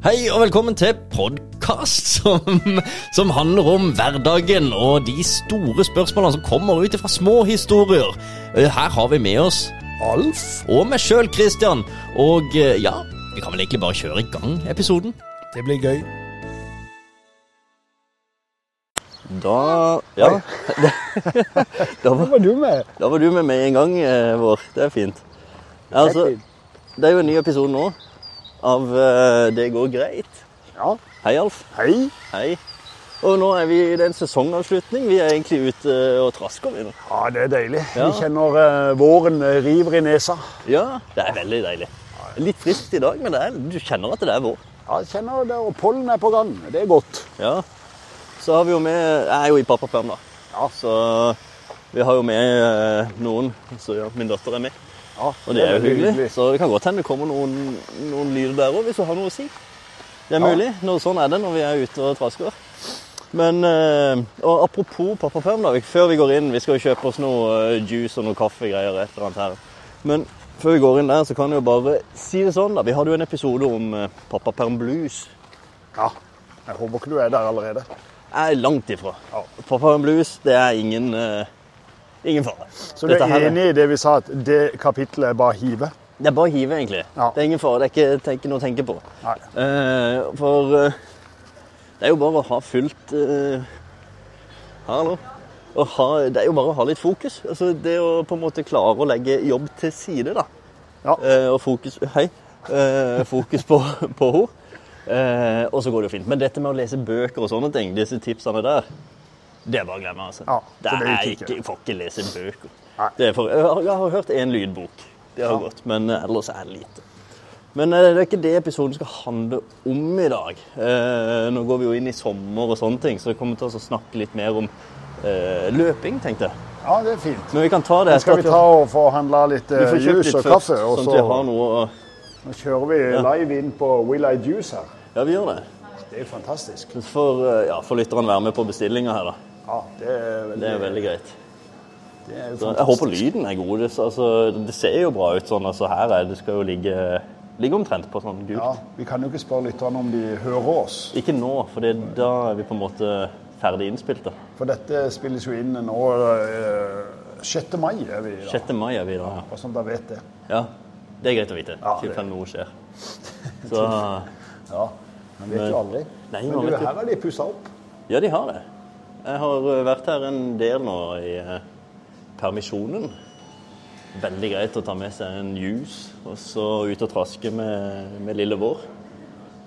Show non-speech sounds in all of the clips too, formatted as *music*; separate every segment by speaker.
Speaker 1: Hei og velkommen til podkast som, som handler om hverdagen og de store spørsmålene som kommer ut fra små historier. Eh, Her har vi med oss
Speaker 2: Alf?
Speaker 1: og meg sjøl, Christian. Og eh, ja, vi kan vel egentlig bare kjøre i gang episoden.
Speaker 2: Det blir gøy.
Speaker 3: Da Ja. da,
Speaker 2: Hva
Speaker 3: var,
Speaker 2: var du med?
Speaker 3: da var du med med en gang, eh, Vår. Det er fint. Altså, det er jo en ny episode nå av eh, Det går greit.
Speaker 2: Ja.
Speaker 3: Hei, Alf.
Speaker 2: Hei.
Speaker 3: Hei. Og nå er vi i den sesongavslutning. Vi er egentlig ute eh, og trasker, vi nå.
Speaker 2: Ja, det er deilig.
Speaker 3: Ja.
Speaker 2: Vi kjenner eh, våren eh, river i nesa.
Speaker 3: Ja, det er veldig deilig. Litt friskt i dag, men det er, du kjenner at det er vår.
Speaker 2: Ja, jeg kjenner det, og pollen er på gang. Det er godt.
Speaker 3: Ja. Så har vi jo med Jeg er jo i pappaperm, da.
Speaker 2: Ja.
Speaker 3: Så vi har jo med eh, noen. Så ja, min datter er med.
Speaker 2: Ja,
Speaker 3: Og det er jo hyggelig. Så det kan godt hende det kommer noen, noen lyder der òg, hvis du har noe å si. Det er
Speaker 2: Ja.
Speaker 3: mulig. Nå, sånn er det når vi er ute og trasker. Men eh, og apropos pappaperm, da. vi- Før vi går inn Vi skal jo kjøpe oss noe eh, juice og noe kaffegreier og et eller annet her. Men før vi går inn der, så kan jeg jo bare si det sånn, da. Vi hadde jo en episode om eh, pappaperm blues.
Speaker 2: Ja. Jeg håper ikke du er der allerede.
Speaker 3: Jeg er langt ifra.
Speaker 2: Ja.
Speaker 3: Pappaperm blues, det er ingen eh, Ingen fare.
Speaker 2: Så du
Speaker 3: Dette her
Speaker 2: er enig i det vi sa, at det kapitlet er bare hive?
Speaker 3: Det er bare å hive, egentlig.
Speaker 2: Ja.
Speaker 3: Det er ingen fare. Det er ikke, det er ikke noe å tenke på.
Speaker 2: Nei.
Speaker 3: Eh, for eh, det er jo bare å ha fullt eh, Hallo. Å ha, det er jo bare å ha litt fokus. Altså, det å på en måte klare å legge jobb til side, da.
Speaker 2: Ja.
Speaker 3: Eh, og fokus Hei. Eh, fokus på, på henne. Eh, og så går det jo fint. Men dette med å lese bøker og sånne ting, disse tipsene der, det er bare å glemme. altså.
Speaker 2: Ja,
Speaker 3: det
Speaker 2: for det
Speaker 3: er
Speaker 2: gikk
Speaker 3: ikke,
Speaker 2: ikke.
Speaker 3: Får ikke lese bøker.
Speaker 2: Nei.
Speaker 3: Det er for, jeg, har, jeg har hørt én lydbok. Det har
Speaker 2: Ja.
Speaker 3: gått. Men eh, ellers er det lite. Men eh, det er ikke det episoden skal handle om i dag. Eh, nå går vi jo inn i sommer og sånne ting, så jeg kommer til å snakke litt mer om eh, løping, tenkte jeg.
Speaker 2: Ja, det er fint.
Speaker 3: Men vi kan ta det
Speaker 2: Skal
Speaker 3: etter
Speaker 2: vi
Speaker 3: at
Speaker 2: ta og få handla litt
Speaker 3: vi
Speaker 2: eh,
Speaker 3: får kjøpt
Speaker 2: juice
Speaker 3: litt
Speaker 2: og
Speaker 3: først,
Speaker 2: kaffe, og
Speaker 3: sånn at vi har
Speaker 2: så
Speaker 3: noe å
Speaker 2: nå kjører vi live inn på Will I Juice her.
Speaker 3: Ja, vi gjør det.
Speaker 2: Det er jo fantastisk.
Speaker 3: Så får, eh, ja, får lytterne være med på bestillinga her, da.
Speaker 2: Ja, det er veldig,
Speaker 3: Det er veldig greit.
Speaker 2: det
Speaker 3: Så
Speaker 2: er jo
Speaker 3: Jeg
Speaker 2: fantastisk.
Speaker 3: håper lyden er god. Det, altså, det ser jo bra ut sånn. Altså, her er det skal jo ligge, ligge omtrent på sånn gult.
Speaker 2: Ja, vi kan jo ikke spørre lytterne om de hører oss.
Speaker 3: Ikke nå, for det, da er vi på en måte ferdig innspilte.
Speaker 2: For dette spilles jo inn nå eh, 6. mai er vi i dag.
Speaker 3: 6. mai er vi da, ja.
Speaker 2: Bare sånn at dere vet det.
Speaker 3: ja. Det er greit å vite.
Speaker 2: Ja, det-
Speaker 3: Tilfelle noe skjer. Så
Speaker 2: Ja, Man vet jo aldri.
Speaker 3: Nei, man
Speaker 2: Men du,
Speaker 3: vet jo-
Speaker 2: her har de pussa opp.
Speaker 3: Ja, de har det. Jeg har eh, vært her en del nå i eh, permisjonen. Veldig greit å ta med seg en juice og så ut og traske med, med lille vår.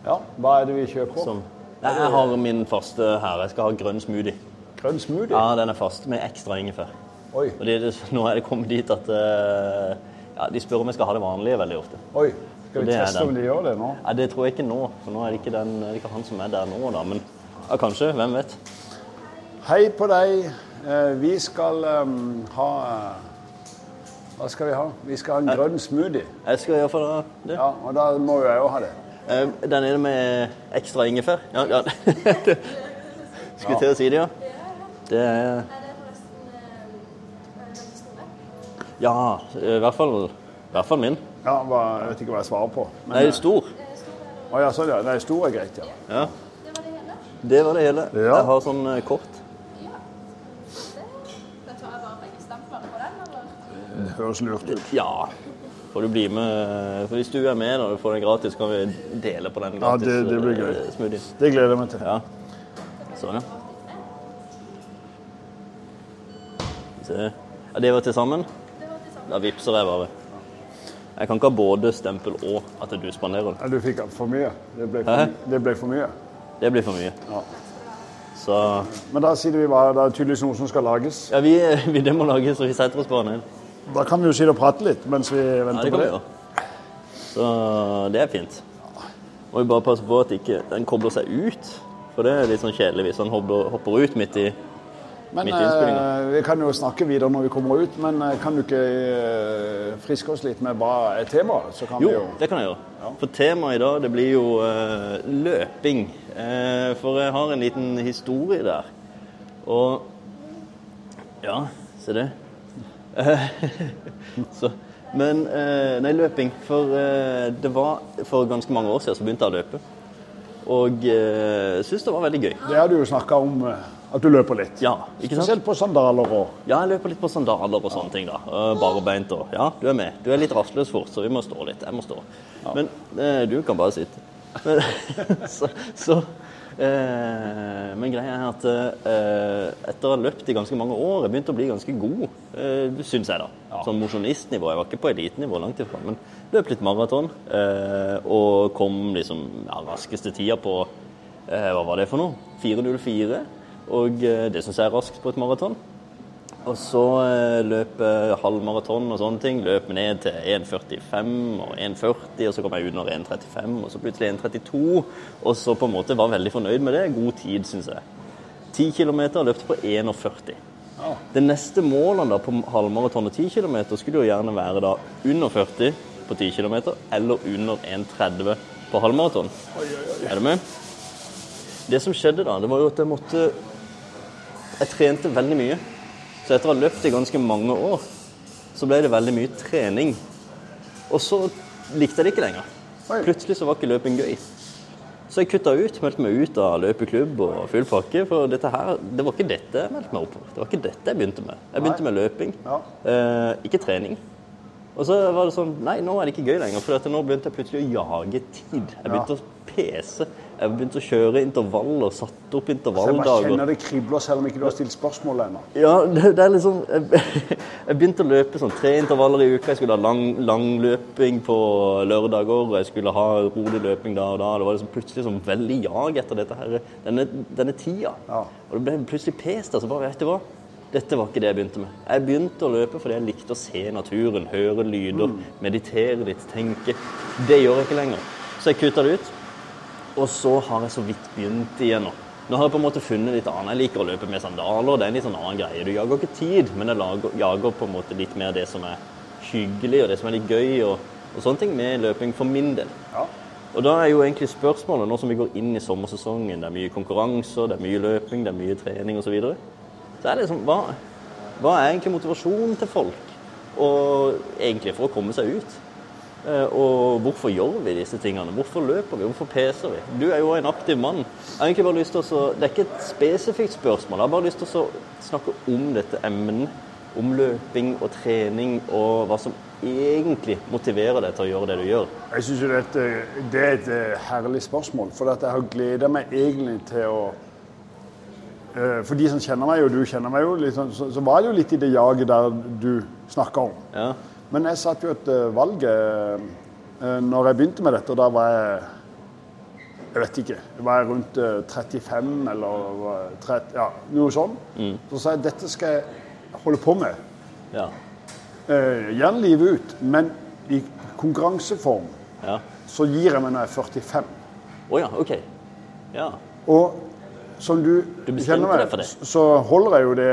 Speaker 2: Ja, Hva er det vi kjøper?
Speaker 3: Som Nei, jeg har min faste her. Jeg skal ha grønn smoothie.
Speaker 2: Grønn smoothie?
Speaker 3: Ja, den er fast med ekstra ingefær.
Speaker 2: Oi,
Speaker 3: Og det, er det- *laughs* nå er det kommet dit at eh, ja, de spør om jeg skal ha det vanlige veldig ofte.
Speaker 2: oi. Skal vi
Speaker 3: Det er
Speaker 2: teste
Speaker 3: den.
Speaker 2: om de gjør det nå?
Speaker 3: Nei, det tror jeg ikke nå, for nå er det ikke, den, det er ikke han som er der nå, da. Men ja, kanskje. Hvem vet?
Speaker 2: Hei på deg. Eh, vi skal em, ha eh, Hva skal vi ha? Vi skal ha en grønn smoothie.
Speaker 3: Jeg skal iallfall ha det.
Speaker 2: Ja, og da må jo jeg òg ha det.
Speaker 3: Eh, Den er det med ekstra ingefær. Ja, ja. *laughs* Skulle til å si det, ja. Det er eh, Ja, i hvert fall, i hvert fall min.
Speaker 2: Ja, hva, Jeg vet ikke hva jeg svarer på.
Speaker 3: Den er jo Eh, stor.
Speaker 2: Å ja, sånn ja. Nei, stor er greit, ja.
Speaker 3: Ja. Det var det hele.
Speaker 2: Ja.
Speaker 3: Jeg har sånn eh, kort.
Speaker 2: Det høres lurt ut.
Speaker 3: Ja. Får du bli med For Hvis du er med når du får den gratis, så kan vi dele på den
Speaker 2: Ja,
Speaker 3: gratis
Speaker 2: det- det blir gøy.
Speaker 3: eh, smoothien.
Speaker 2: Det gleder jeg meg til.
Speaker 3: Ja. Sånn, ja. Skal vi se. Ja, det var til sammen? Da vippser jeg bare. Jeg kan ikke ha både stempel og at du spanderer det.
Speaker 2: Ja, Du fikk for mye. Det ble
Speaker 3: Hæ?
Speaker 2: for, det ble for mye.
Speaker 3: Det blir for mye.
Speaker 2: Ja.
Speaker 3: Så
Speaker 2: Men da sier vi hva, det er tydeligvis noe som skal lages.
Speaker 3: Ja, vi, *laughs* vi det må lages, så vi setter oss på den.
Speaker 2: Da kan vi jo sitte og prate litt mens vi
Speaker 3: Ja,
Speaker 2: venter
Speaker 3: det
Speaker 2: på
Speaker 3: kan vi
Speaker 2: det.
Speaker 3: gjøre. Så det er fint. Må vi bare passe på at ikke den kobler seg ut. For det er litt sånn kjedelig hvis den hopper, hopper ut midt i
Speaker 2: Men
Speaker 3: Midt i innspillingen.
Speaker 2: eh, vi kan jo snakke videre når vi kommer ut. Men eh, kan du ikke eh, friske oss litt med hva er temaet? Så kan
Speaker 3: Jo,
Speaker 2: vi jo
Speaker 3: det kan jeg gjøre. For temaet i dag det blir jo eh, løping. Eh, for jeg har en liten historie der. Og Ja, se det. Eh, *laughs* så, men eh, Nei, løping. For eh, det var for ganske mange år siden så begynte jeg å løpe. Og eh, syns det var veldig gøy.
Speaker 2: Det har du jo snakka om, eh, at du løper litt.
Speaker 3: Ja, ikke sant?
Speaker 2: Spesielt på sandaler og
Speaker 3: Ja, jeg løper litt på sandaler og sånne ting, da. Eh, Barbeint og Ja, du er med. Du er litt rastløs fort, så vi må stå litt. Jeg må stå. Men eh, du kan bare sitte. Men, *laughs* så så eh, Men greia er at eh, etter å ha løpt i ganske mange år, jeg begynte å bli ganske god, eh, syns jeg, da. Som mosjonistnivå. Jeg var ikke på elitenivå langt ifra, men løp litt maraton. Eh, og kom liksom ja, raskeste tida på eh, Hva var det for noe? 4.04. Og eh, det syns jeg er raskt på et maraton. Og så eh, løpe halvmaraton og sånne ting. Løp ned til 1,45 og 1,40, og så kom jeg under 1,35, og så plutselig 1,32. Og så på en måte var veldig fornøyd med det. God tid, syns jeg. 10 km løpte på 41. Det neste målet da på halvmaraton og 10 km skulle jo gjerne være da under 40 på 10 km, eller under 1,30 på halvmaraton. Er du med? Det som skjedde da, det var jo at jeg måtte Jeg trente veldig mye. Så etter å ha løpt i ganske mange år, så ble det veldig mye trening. Og så likte jeg det ikke lenger.
Speaker 2: Oi.
Speaker 3: Plutselig så var ikke løping gøy. Så jeg kutta ut, meldte meg ut av løpeklubb og full pakke. For dette her, det var ikke dette jeg meldte meg opp på. Det var ikke dette jeg begynte med. Jeg begynte med løping,
Speaker 2: Ja.
Speaker 3: eh, ikke trening. Og så var det sånn Nei, nå er det ikke gøy lenger. For at nå begynte jeg plutselig å jage tid. Jeg begynte å pese. Jeg begynte å kjøre intervaller, satte opp
Speaker 2: Så Jeg bare
Speaker 3: intervalldager.
Speaker 2: kjenner det kribler selv om ikke du har stilt spørsmål ennå.
Speaker 3: Ja, det, det er liksom jeg, *laughs* jeg begynte å løpe sånn tre intervaller i uka. Jeg skulle ha lang, langløping på lørdager, og jeg skulle ha rolig løping da og da. Det var liksom plutselig sånn veldig jag etter dette her, denne, denne tida.
Speaker 2: Ja.
Speaker 3: Og det ble plutselig pest. altså bare, vet du hva? Dette var ikke det jeg begynte med. Jeg begynte å løpe fordi jeg likte å se naturen, høre lyder, meditere litt, tenke. Det gjør jeg ikke lenger. Så jeg kutta det ut. Og så har jeg så vidt begynt igjen nå. Nå har jeg på en måte funnet litt annet. Jeg liker å løpe med sandaler. Det er en litt sånn annen greie. Du jager ikke tid, men jeg lager, jager på en måte litt mer det som er hyggelig, og det som er litt gøy, og, og sånne ting med løping for min del.
Speaker 2: Ja.
Speaker 3: Og da er jo egentlig spørsmålet, nå som vi går inn i sommersesongen, det er mye konkurranser, det er mye løping, det er mye trening osv., så, videre, så er det liksom hva, hva er egentlig motivasjonen til folk? Og egentlig for å komme seg ut. Eh, Og hvorfor gjør vi disse tingene? Hvorfor løper vi? Hvorfor peser vi? Du er jo en aktiv mann. Jeg har egentlig bare lyst til å så- Det er ikke et spesifikt spørsmål. Jeg har bare lyst til å så snakke om dette emnet. Om løping og trening og hva som egentlig motiverer deg til å gjøre det du gjør.
Speaker 2: Jeg syns jo det er et, eh, det er et eh, herlig spørsmål. For at jeg har gleda meg egentlig til å eh, For de som kjenner meg, og du kjenner meg jo, litt sånn, så, så var det jo litt i det jaget der du snakka om.
Speaker 3: Ja.
Speaker 2: Men jeg satt jo et eh, valg eh, eh, når jeg begynte med dette, og da var jeg Jeg vet ikke. Var jeg rundt eh, 35 eller var jeg 30, ja, noe sånn. Så sa jeg dette skal jeg holde på med.
Speaker 3: Ja.
Speaker 2: Eh, gjerne livet ut, men i konkurranseform
Speaker 3: Ja.
Speaker 2: så gir jeg meg når jeg er 45.
Speaker 3: Å ja, OK. Ja.
Speaker 2: Og som du,
Speaker 3: Du bestemte
Speaker 2: kjenner meg,
Speaker 3: deg for det.
Speaker 2: s- så holder jeg jo det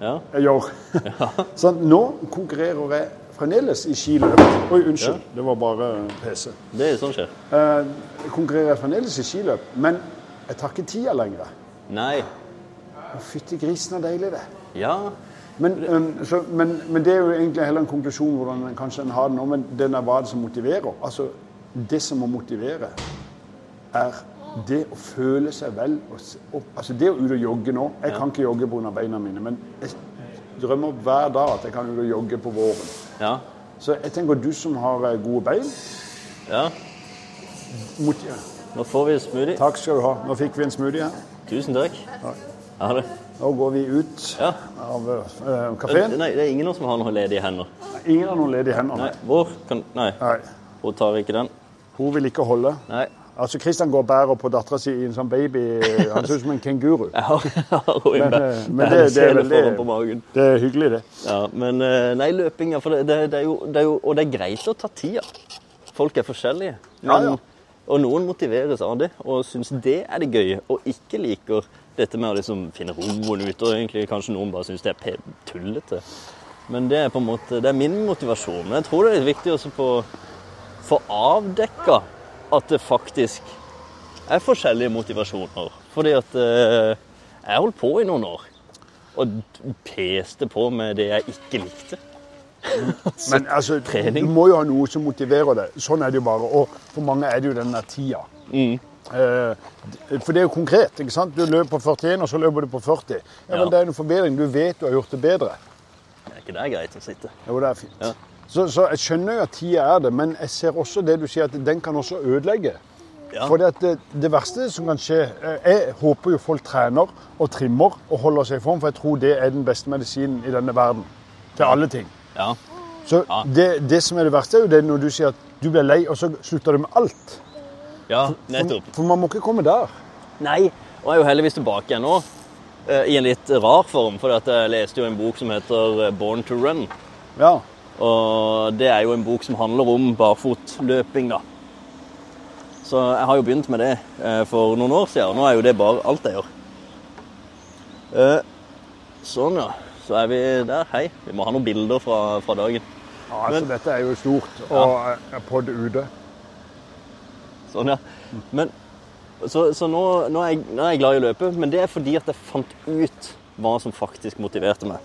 Speaker 3: Ja.
Speaker 2: jeg
Speaker 3: *laughs*
Speaker 2: gjør. *laughs* Så nå konkurrerer jeg fremdeles i skiløp. Oi, unnskyld. Det var bare PC.
Speaker 3: Det er sånn skjer.
Speaker 2: Eh, Jeg konkurrerer fremdeles i skiløp, men jeg tar ikke tida lenger.
Speaker 3: Nei.
Speaker 2: Å, Fytti grisen, er deilig, det.
Speaker 3: Ja.
Speaker 2: Men, øhm, så, men, men det er jo egentlig heller en konklusjon hvordan en kanskje en har det nå, men den er hva det som motiverer. Altså, det som må motivere, er det å føle seg vel. Og, s- og, altså, det å ut og jogge nå Jeg kan ikke jogge pga. beina mine, men jeg drømmer hver dag at jeg kan ut og jogge på våren.
Speaker 3: Ja.
Speaker 2: Så jeg tenker du som har eh, gode bein
Speaker 3: Ja.
Speaker 2: moti-
Speaker 3: Nå får vi en smoothie.
Speaker 2: Takk skal du ha. Nå fikk vi en smoothie her.
Speaker 3: Tusen takk. Ha det.
Speaker 2: Nå går vi ut
Speaker 3: Ja.
Speaker 2: av øh, kafeen.
Speaker 3: Nei, det er ingen av oss som har noen ledige hender.
Speaker 2: Ingen har noen ledige
Speaker 3: Nei,
Speaker 2: hender.
Speaker 3: vår kan Nei,
Speaker 2: Nei.
Speaker 3: hun tar ikke den.
Speaker 2: Hun vil ikke holde.
Speaker 3: Nei. *laughs*
Speaker 2: Altså, Kristian går og bærer på dattera si i en sånn baby Han ser ut som en kenguru.
Speaker 3: Jeg har, jeg har hun i
Speaker 2: Men,
Speaker 3: bæ-
Speaker 2: eh, men det- det er
Speaker 3: bæreskjele
Speaker 2: veldig-
Speaker 3: foran på magen.
Speaker 2: Det er hyggelig, det.
Speaker 3: Ja, men eh, nei, løping ja, for det, det, det, er jo, det er jo Og det er greit å ta tida. Folk er forskjellige.
Speaker 2: Ja, ja.
Speaker 3: Og noen motiveres av det og syns det er det gøye, og ikke liker dette med å liksom finne roen ute. og egentlig Kanskje noen bare syns det er pe- tullete. Men det er på en måte, det er min motivasjon. Men jeg tror det er litt viktig også på få avdekka at det faktisk er forskjellige motivasjoner. Fordi at eh, jeg holdt på i noen år og d- peste på med det jeg ikke likte.
Speaker 2: Men altså,
Speaker 3: trening. Mm.
Speaker 2: du må jo ha noe som motiverer deg. Sånn er det jo bare. Og for mange er det jo den der tida. Eh, d- For det er jo konkret. ikke sant? Du løper på 41, og så løper du på 40. Ja,
Speaker 3: Ja.
Speaker 2: men Det er jo en forbedring. Du vet du har gjort det bedre.
Speaker 3: Er ikke det greit å sitte?
Speaker 2: Jo, det er fint.
Speaker 3: Ja.
Speaker 2: Så, så jeg skjønner jo at tida er det, men jeg ser også det du sier, at den kan også ødelegge.
Speaker 3: Ja.
Speaker 2: For det, det verste som kan skje eh, Jeg håper jo folk trener og trimmer og holder seg i form, for jeg tror det er den beste medisinen i denne verden. Til alle ting.
Speaker 3: Ja.
Speaker 2: Så
Speaker 3: Ja.
Speaker 2: det, det som er det verste, er jo det når du sier at du blir lei, og så slutter du med alt.
Speaker 3: ja,
Speaker 2: For,
Speaker 3: nettopp.
Speaker 2: for man må ikke komme der.
Speaker 3: Nei, og jeg er jo heldigvis tilbake igjen nå. eh, I en litt rar form, for jeg leste jo en bok som heter eh, 'Born to Run'.
Speaker 2: Ja.
Speaker 3: Og det er jo en bok som handler om barfotløping, da. Så jeg har jo begynt med det eh, for noen år siden, og nå er jo det bare alt jeg gjør. Eh, sånn, ja. Så er vi der. Hei. Vi må ha noen bilder fra, fra dagen.
Speaker 2: ja altså,
Speaker 3: Men-
Speaker 2: dette er jo stort, og jeg er på det ute.
Speaker 3: Sånn, ja. Men, så så nå, nå, er jeg, nå er jeg glad i å løpe, men det er fordi at jeg fant ut hva som faktisk motiverte meg.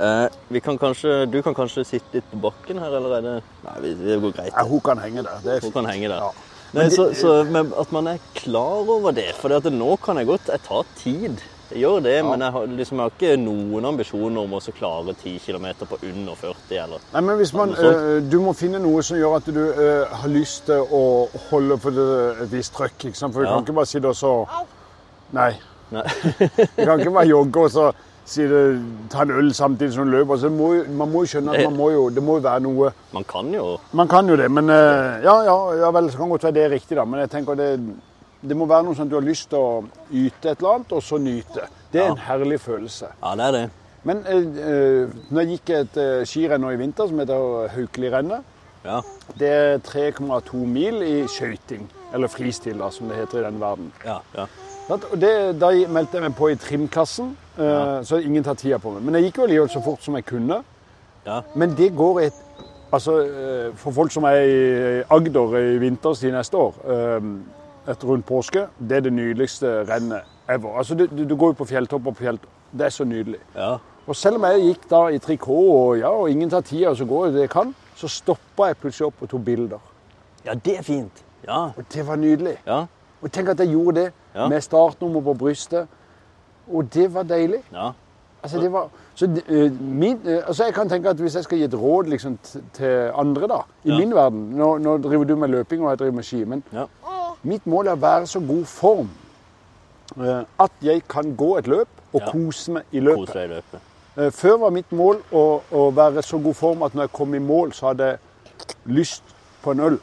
Speaker 3: Eh, vi kan kanskje, du kan kanskje sitte litt på bakken her, eller er det Nei, vi- det går greit.
Speaker 2: Ja, hun kan henge der. Det er
Speaker 3: Hun
Speaker 2: fint.
Speaker 3: kan henge der.
Speaker 2: Ja.
Speaker 3: Nei, så, så men at man er klar over det. For det at nå kan jeg godt Jeg tar tid. Jeg gjør det, men jeg har, liksom, jeg har ikke noen ambisjoner om å så klare 10 km på under 40 eller
Speaker 2: Nei, men hvis man,
Speaker 3: Noe sånt.
Speaker 2: øh, Du må finne noe som gjør at du øh, har lyst til å holde på det, et visst trøkk. ikke sant? For du
Speaker 3: Ja.
Speaker 2: kan ikke bare sitte og så Nei.
Speaker 3: Nei.
Speaker 2: *laughs* Du kan ikke bare jogge og så si det, ta en øl samtidig som du løper. Så må, jo- man må jo skjønne at man må jo, det må jo være noe
Speaker 3: Man kan jo
Speaker 2: Man kan jo det, men øh, ja, ja, ja vel, så kan godt være det er riktig, da. Men jeg tenker det, det må være noe sånn at du har lyst til å yte et eller annet, og så nyte. Det er
Speaker 3: Ja.
Speaker 2: en herlig følelse.
Speaker 3: Ja, det er det.
Speaker 2: Men øh, øh, når jeg gikk et øh, skirenn nå i vinter som heter Haukelirennet
Speaker 3: Ja.
Speaker 2: det er 3,2 mil i skøyting, eller fristil, da, som det heter i den verden.
Speaker 3: ja, ja.
Speaker 2: Sant? Og det, da meldte jeg meg på i trimklassen, eh, så ingen tar tida på meg. Men jeg gikk jo allikevel så fort som jeg kunne.
Speaker 3: Ja.
Speaker 2: Men det går i et Altså, eh, for folk som er i Agder i vinterstid neste år, eh, etter rundt påske, det er det nydeligste rennet ever. Altså, du, du du går jo på fjelltopp og fjelltopp. Det er så nydelig.
Speaker 3: ja.
Speaker 2: Og selv om jeg gikk da i trikot og, ja, og ingen tar tida, og så går jeg det jeg kan, så stoppa jeg plutselig opp og tok bilder.
Speaker 3: Ja, det er fint. Ja.
Speaker 2: Og det var nydelig.
Speaker 3: Ja.
Speaker 2: Og tenk at jeg gjorde det
Speaker 3: Ja.
Speaker 2: med startnummer på brystet. Og det var deilig.
Speaker 3: ja.
Speaker 2: Altså, det var, så, eh, min, eh, altså jeg kan tenke at Hvis jeg skal gi et råd liksom, t- til andre da, i
Speaker 3: Ja.
Speaker 2: min verden nå, nå driver du med løping, og jeg driver med ski. Men
Speaker 3: Ja.
Speaker 2: mitt mål er å være så god form eh, at jeg kan gå et løp og
Speaker 3: Ja.
Speaker 2: kose meg i
Speaker 3: Kos
Speaker 2: løpet.
Speaker 3: deg i løpet.
Speaker 2: Eh, Før var mitt mål å, å være så god form at når jeg kom i mål, så hadde jeg lyst på en øl.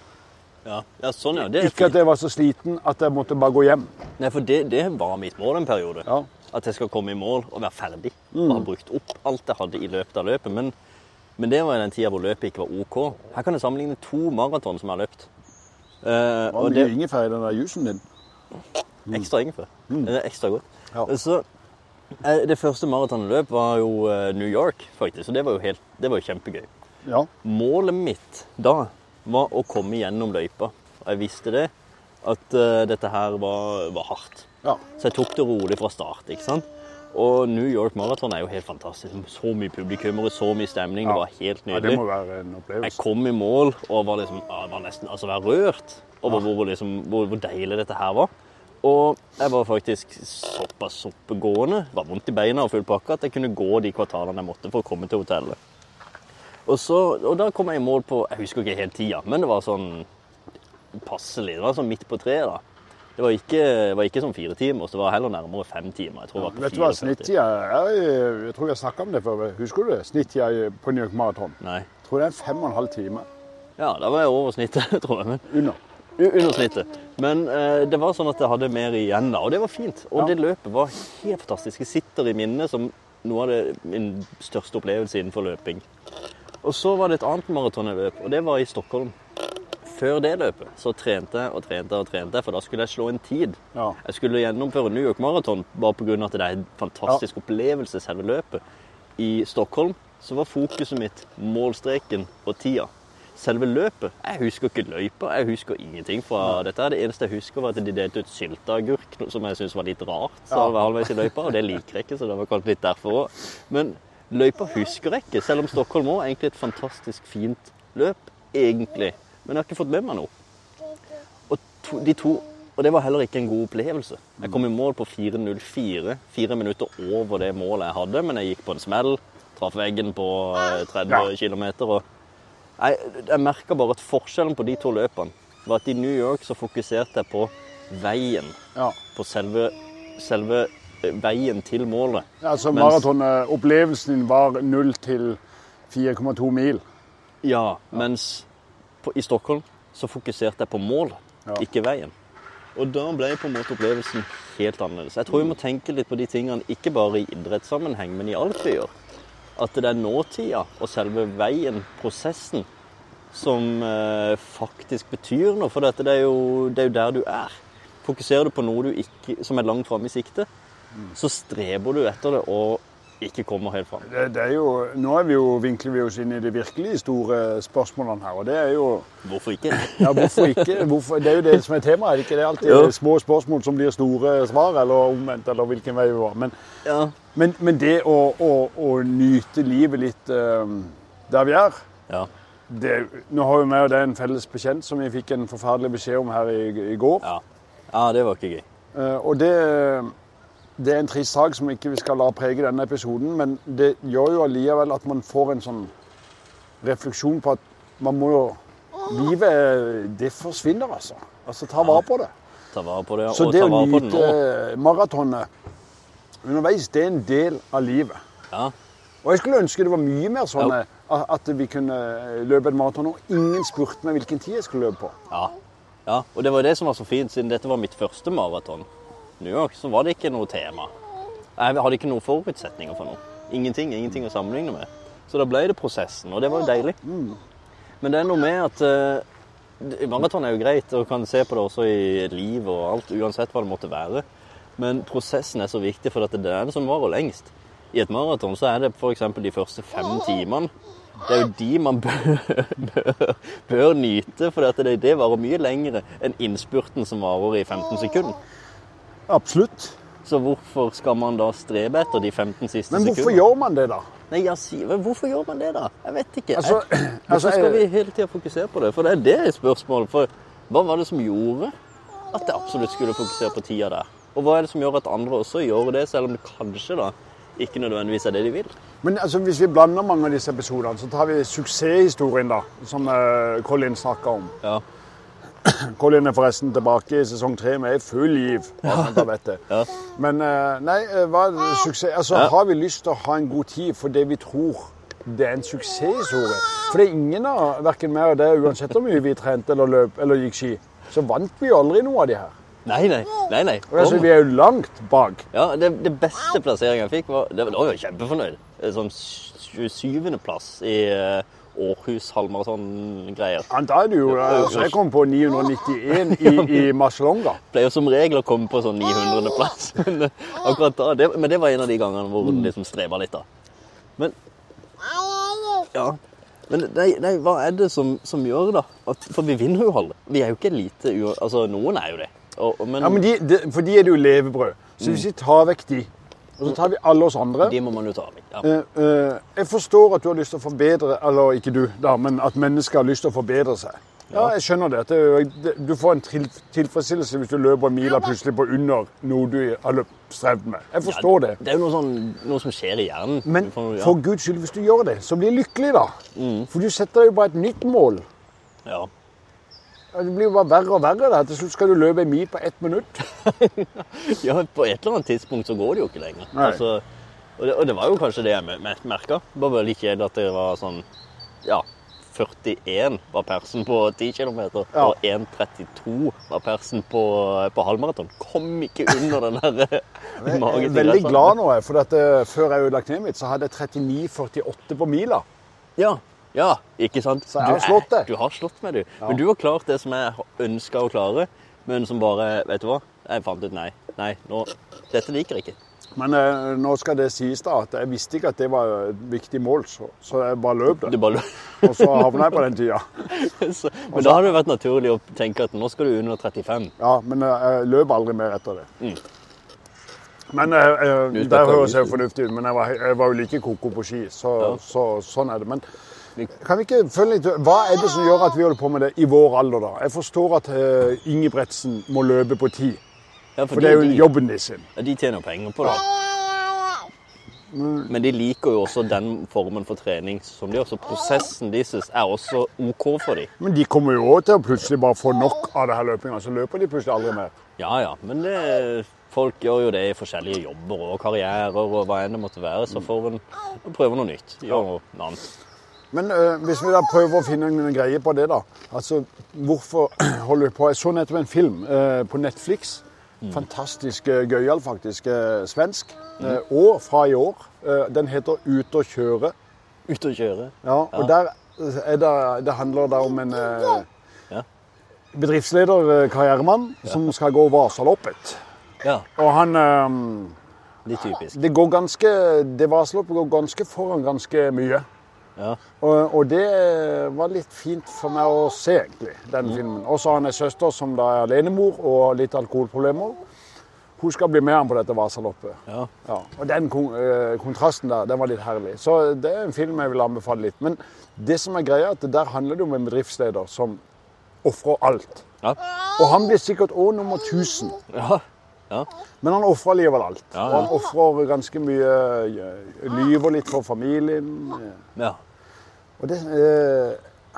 Speaker 3: Ja. ja, sånn, ja. Det er
Speaker 2: Ikke at
Speaker 3: fint.
Speaker 2: jeg var så sliten at jeg måtte bare gå hjem.
Speaker 3: Nei, for det, det var mitt mål en periode.
Speaker 2: Ja.
Speaker 3: At jeg skal komme i mål og være ferdig. Og ha brukt opp alt jeg hadde i løpet av løpet. Men, men det var i den tida hvor løpet ikke var OK. Her kan jeg sammenligne to maraton som jeg har løpt. Eh,
Speaker 2: Var
Speaker 3: og
Speaker 2: mye
Speaker 3: det
Speaker 2: ingefær i den der jusen din?
Speaker 3: ekstra ingefær. Det er ekstra godt.
Speaker 2: Ja.
Speaker 3: Så eh, det første maratonet jeg løp, var jo eh, New York, faktisk. Og det var jo, helt, det var jo kjempegøy.
Speaker 2: Ja.
Speaker 3: Målet mitt da var å komme gjennom løypa. Og jeg visste det, at eh, dette her var, var hardt.
Speaker 2: ja.
Speaker 3: Så jeg tok det rolig fra start. ikke sant? Og New York Marathon er jo helt fantastisk. Så mye publikummere, så mye stemning. Det var helt
Speaker 2: ja. Det
Speaker 3: nydelig.
Speaker 2: må være en
Speaker 3: Jeg
Speaker 2: opplevelse.
Speaker 3: kom i mål og var liksom ja, jeg var nesten altså var rørt over hvor, liksom, hvor, hvor deilig dette her var. Og jeg var faktisk såpass oppegående, var vondt i beina og full pakke, at jeg kunne gå de kvartalene jeg måtte for å komme til hotellet. Og, så, og da kom jeg i mål på Jeg husker ikke helt tida, men det var sånn passelig. Det var sånn midt på treet, da. Det var ikke, det var ikke sånn fire timer, så det var heller nærmere fem timer. Jeg tror det var på
Speaker 2: Vet du hva
Speaker 3: 44.
Speaker 2: snittida er? i- Jeg tror jeg snakka om det før. Husker du det? Snittida i- på New York Marathon.
Speaker 3: Nei.
Speaker 2: Jeg tror det er fem og en halv time
Speaker 3: Ja, da var jeg over snittet, *laughs* tror jeg. Men
Speaker 2: under.
Speaker 3: U- Under snittet. Men eh, det var sånn at jeg hadde mer igjen, da, og det var fint. Og
Speaker 2: Ja.
Speaker 3: det løpet var helt fantastisk. Jeg sitter i minnet som noe av det, min største opplevelse innenfor løping. Og så var det et annet maraton jeg løp, og det var i Stockholm. Før det løpet så trente jeg og trente og trente, for da skulle jeg slå en tid.
Speaker 2: Ja.
Speaker 3: Jeg skulle gjennomføre New York Marathon bare pga. at det er en fantastisk opplevelse, selve løpet. I Stockholm så var fokuset mitt målstreken og tida. Selve løpet Jeg husker ikke løypa, jeg husker ingenting fra dette. her. Det eneste jeg husker, var at de delte ut sylteagurk, noe som jeg syntes var litt rart. Så
Speaker 2: Ja.
Speaker 3: jeg var halvveis i løypa, og det liker jeg ikke, så det var kanskje litt derfor òg. Men løypa husker jeg ikke, selv om Stockholm òg er egentlig et fantastisk fint løp, egentlig. Men jeg har ikke fått med meg noe. Og to, de to Og det var heller ikke en god opplevelse. Jeg kom i mål på 4.04. Fire minutter over det målet jeg hadde, men jeg gikk på en smell. Traff veggen på eh, 30
Speaker 2: Ja.
Speaker 3: km. Og jeg, jeg merka bare at forskjellen på de to løpene var at i New York så fokuserte jeg på veien.
Speaker 2: Ja.
Speaker 3: På selve, selve eh, veien til målet.
Speaker 2: Altså
Speaker 3: Mens-
Speaker 2: maratonopplevelsen din var 0 til 4,2 mil.
Speaker 3: Ja, mens på, i Stockholm så fokuserte jeg på mål,
Speaker 2: Ja.
Speaker 3: ikke veien. Og da ble på en måte opplevelsen helt annerledes. Jeg tror vi må tenke litt på de tingene, ikke bare i idrettssammenheng, men i alt vi gjør. At det er nåtida og selve veien, prosessen, som eh, faktisk betyr noe. For dette, det, er jo, det er jo der du er. Fokuserer du på noe du ikke, som er langt framme i sikte, så streber du etter det og ikke kommer helt fram.
Speaker 2: Det, det er jo, nå er vi jo, vinkler vi oss inn i de virkelig store spørsmålene her. Og det er jo
Speaker 3: Hvorfor ikke?
Speaker 2: ja, hvorfor ikke? Hvorfor, det er jo det som er temaet. er det Ikke det er alltid
Speaker 3: Jo.
Speaker 2: små spørsmål som blir store svar, eller omvendt, eller hvilken vei vi var. Men,
Speaker 3: Ja.
Speaker 2: men, men det å, å, å nyte livet litt eh, der vi er
Speaker 3: Ja.
Speaker 2: det, Nå har jo vi og deg en felles bekjent som vi fikk en forferdelig beskjed om her i, i går.
Speaker 3: Ja. ja, det var ikke gøy.
Speaker 2: Eh, Og det, det er en trist sak som ikke vi skal la prege denne episoden, men det gjør jo allikevel at man får en sånn refleksjon på at man må jo Livet, det forsvinner, altså. Altså, ta vare på det.
Speaker 3: Ta vare på det,
Speaker 2: Så
Speaker 3: og
Speaker 2: det
Speaker 3: ta
Speaker 2: å
Speaker 3: vare på det
Speaker 2: nyte
Speaker 3: nå.
Speaker 2: maratonet underveis, det er en del av livet.
Speaker 3: Ja.
Speaker 2: Og jeg skulle ønske det var mye mer sånn
Speaker 3: Ja.
Speaker 2: eh, at at vi kunne eh, løpe en maraton, og ingen spurte meg hvilken tid jeg skulle løpe på.
Speaker 3: Ja. ja. Og det var det som var så fint, siden dette var mitt første maraton. New York, så var det ikke noe tema. Jeg hadde ikke noen forutsetninger for noe. Ingenting, ingenting å sammenligne med. Så da ble det prosessen, og det var jo deilig.
Speaker 2: Mm.
Speaker 3: Men det er noe med at eh, maraton er jo greit, og kan se på det også i liv og alt, uansett hva det måtte være. Men prosessen er så viktig, for at det er den som varer lengst. I et maraton så er det f.eks. de første fem timene. Det er jo de man *laughs* bør, bør, bør nyte, for at det, det varer mye lengre enn innspurten som varer i 15 sekunder.
Speaker 2: Absolutt.
Speaker 3: Så hvorfor skal man da strebe etter de 15 siste
Speaker 2: Men hvorfor
Speaker 3: sekundene?
Speaker 2: gjør man det, da?
Speaker 3: Nei, jeg sier, men hvorfor gjør man det, da? Jeg vet ikke.
Speaker 2: Altså, *clears throat*
Speaker 3: jeg,
Speaker 2: altså,
Speaker 3: hvorfor skal vi
Speaker 2: jeg-
Speaker 3: hele tida fokusere på det? For det er det spørsmålet. For hva var det som gjorde at jeg absolutt skulle fokusere på tida der? Og hva er det som gjør at andre også gjør det, selv om det kanskje da ikke nødvendigvis er det de vil?
Speaker 2: Men altså, hvis vi blander mange av disse episodene, så tar vi suksesshistorien, da, som eh, Colin snakka om.
Speaker 3: Ja.
Speaker 2: *clears throat* Colin er forresten tilbake i sesong tre med full giv. bare sånn at jeg vet det.
Speaker 3: Ja.
Speaker 2: Men eh, nei, eh, hva er suksess Altså,
Speaker 3: Ja.
Speaker 2: har vi lyst til å ha en god tid fordi vi tror det er en suksesshistorie? For det er ingen av hverken meg og deg, uansett hvor mye vi trente eller løp eller gikk ski, så vant vi jo aldri noe av de her.
Speaker 3: Nei, nei. nei, nei.
Speaker 2: Og altså,
Speaker 3: Kom.
Speaker 2: vi er jo langt bak.
Speaker 3: Ja, det, det beste plasseringen jeg fikk, var det, Da var jeg kjempefornøyd. Sånn 27. plass i eh, Århus halvmaraton-greier.
Speaker 2: Men Da er det jo altså, Jeg kom på 991 i, i Marcialonga.
Speaker 3: Pleier som regel å komme på sånn 900.
Speaker 2: *laughs*
Speaker 3: plass. Men eh, akkurat da, det, men det var en av de gangene hvor hun liksom streva litt, da. Men ja. Men nei, nei, hva er det som, som gjør da? At, for vi vinner jo alle. Vi er jo ikke elite. u- Altså, noen er jo det. Og, og, men,
Speaker 2: Ja, men de, de, for de er det jo levebrød. Så hvis vi tar vekk de, og så tar vi alle oss andre
Speaker 3: Mm. de må man jo ta av. Ja.
Speaker 2: Eh, eh, Jeg forstår at du har lyst til å forbedre Eller ikke du, da, men at mennesker har lyst til å forbedre seg. Ja, jeg skjønner det. at det- det- Du får en til- tilfredsstillelse hvis du løper mila plutselig på under noe du har løpt strevd med. Jeg forstår det.
Speaker 3: Det er jo noe, sånn, noe som skjer i hjernen.
Speaker 2: Men
Speaker 3: Du får- ja. Mm.
Speaker 2: for guds skyld, hvis du gjør det, så bli lykkelig, da. For du setter deg jo bare et nytt mål.
Speaker 3: ja.
Speaker 2: Ja, Det blir jo bare verre og verre. da. Til slutt skal du løpe en mil på ett minutt.
Speaker 3: *laughs* Ja, på et eller annet tidspunkt så går det jo ikke lenger.
Speaker 2: Nei.
Speaker 3: Altså, og, det, og det var jo kanskje det jeg merka. Bare veldig kjedelig at det var sånn Ja, 41 var persen på 10 km,
Speaker 2: Ja.
Speaker 3: og 1,32 var persen på, på halvmaraton. Kom ikke under den *laughs* der
Speaker 2: Jeg er
Speaker 3: magen.
Speaker 2: Eh, veldig glad nå, jeg, for at, eh, før jeg ødela kneet mitt, så hadde jeg 39,48 på mila.
Speaker 3: Ja, ja, ikke sant?
Speaker 2: jeg har
Speaker 3: Du er-
Speaker 2: slått det.
Speaker 3: Du har slått meg, du. Men du har klart det som jeg ønska å klare, men som bare Vet du hva? Jeg fant ut nei. Nei, nå Dette liker jeg ikke.
Speaker 2: Men eh, nå skal det sies da at jeg visste ikke at det var et viktig mål, så, så jeg bare løp
Speaker 3: Du
Speaker 2: det.
Speaker 3: bare
Speaker 2: Og så havna jeg på den tida.
Speaker 3: *laughs* Så, men
Speaker 2: Altså-
Speaker 3: da hadde det vært naturlig å tenke at nå skal du under 35.
Speaker 2: Ja, men eh, jeg løp aldri mer etter det. Men eh, eh,
Speaker 3: Mm. Du, dette
Speaker 2: Det
Speaker 3: er
Speaker 2: høres
Speaker 3: jo-
Speaker 2: jo fornuftig ut, men jeg var, jeg var jo like koko på ski, så,
Speaker 3: Ja.
Speaker 2: så sånn er det. Men,
Speaker 3: Vi-
Speaker 2: Kan vi ikke følge litt Hva er det som gjør at vi holder på med det i vår alder, da? Jeg forstår at eh, Ingebretsen må løpe på ti,
Speaker 3: Ja, for
Speaker 2: for det er jo
Speaker 3: de,
Speaker 2: jobben de sin.
Speaker 3: ja, de tjener jo penger på det.
Speaker 2: Mm.
Speaker 3: Men de liker jo også den formen for trening som de gjør, så prosessen deres er også OK for dem.
Speaker 2: Men de kommer jo òg til å plutselig bare få nok av det her løpinga, så løper de plutselig aldri mer.
Speaker 3: Ja ja, men det, folk gjør jo det i forskjellige jobber og karrierer og hva enn det måtte være, så får en prøve noe nytt. Gjør noe annet.
Speaker 2: Men eh, hvis vi da prøver å finne en greie på det, da. Altså, hvorfor *clears throat* holder vi på? Jeg så nettopp en film eh, på Netflix. Fantastisk eh, gøyal, faktisk. eh, svensk. eh, og fra i år. Eh, den heter 'Ute og kjøre'.
Speaker 3: Ut og kjøre.
Speaker 2: Ja, og der eh, er det, det handler det om en eh,
Speaker 3: Ja.
Speaker 2: bedriftsleder, eh, karrieremann, som skal gå varselloppet.
Speaker 3: Ja,
Speaker 2: Og han eh,
Speaker 3: litt typisk.
Speaker 2: Det går ganske Det varselloppet går ganske foran ganske mye.
Speaker 3: Ja.
Speaker 2: Og, og det var litt fint for meg å se, egentlig, den filmen. Og så har han ei søster som da er alenemor og litt alkoholproblemer. Hun skal bli med ham på dette varselloppet.
Speaker 3: Ja.
Speaker 2: Ja, og den kon eh, kontrasten der, den var litt herlig. Så det er en film jeg vil anbefale litt. Men det som er greia, er at der handler det om en bedriftsleder som ofrer alt.
Speaker 3: Ja.
Speaker 2: Og han blir sikkert òg nummer 1000,
Speaker 3: ja.
Speaker 2: men han ofrer likevel alt.
Speaker 3: Ja, ja.
Speaker 2: Og han ofrer ganske mye eh, Lyver litt for familien.
Speaker 3: ja.
Speaker 2: Og det eh,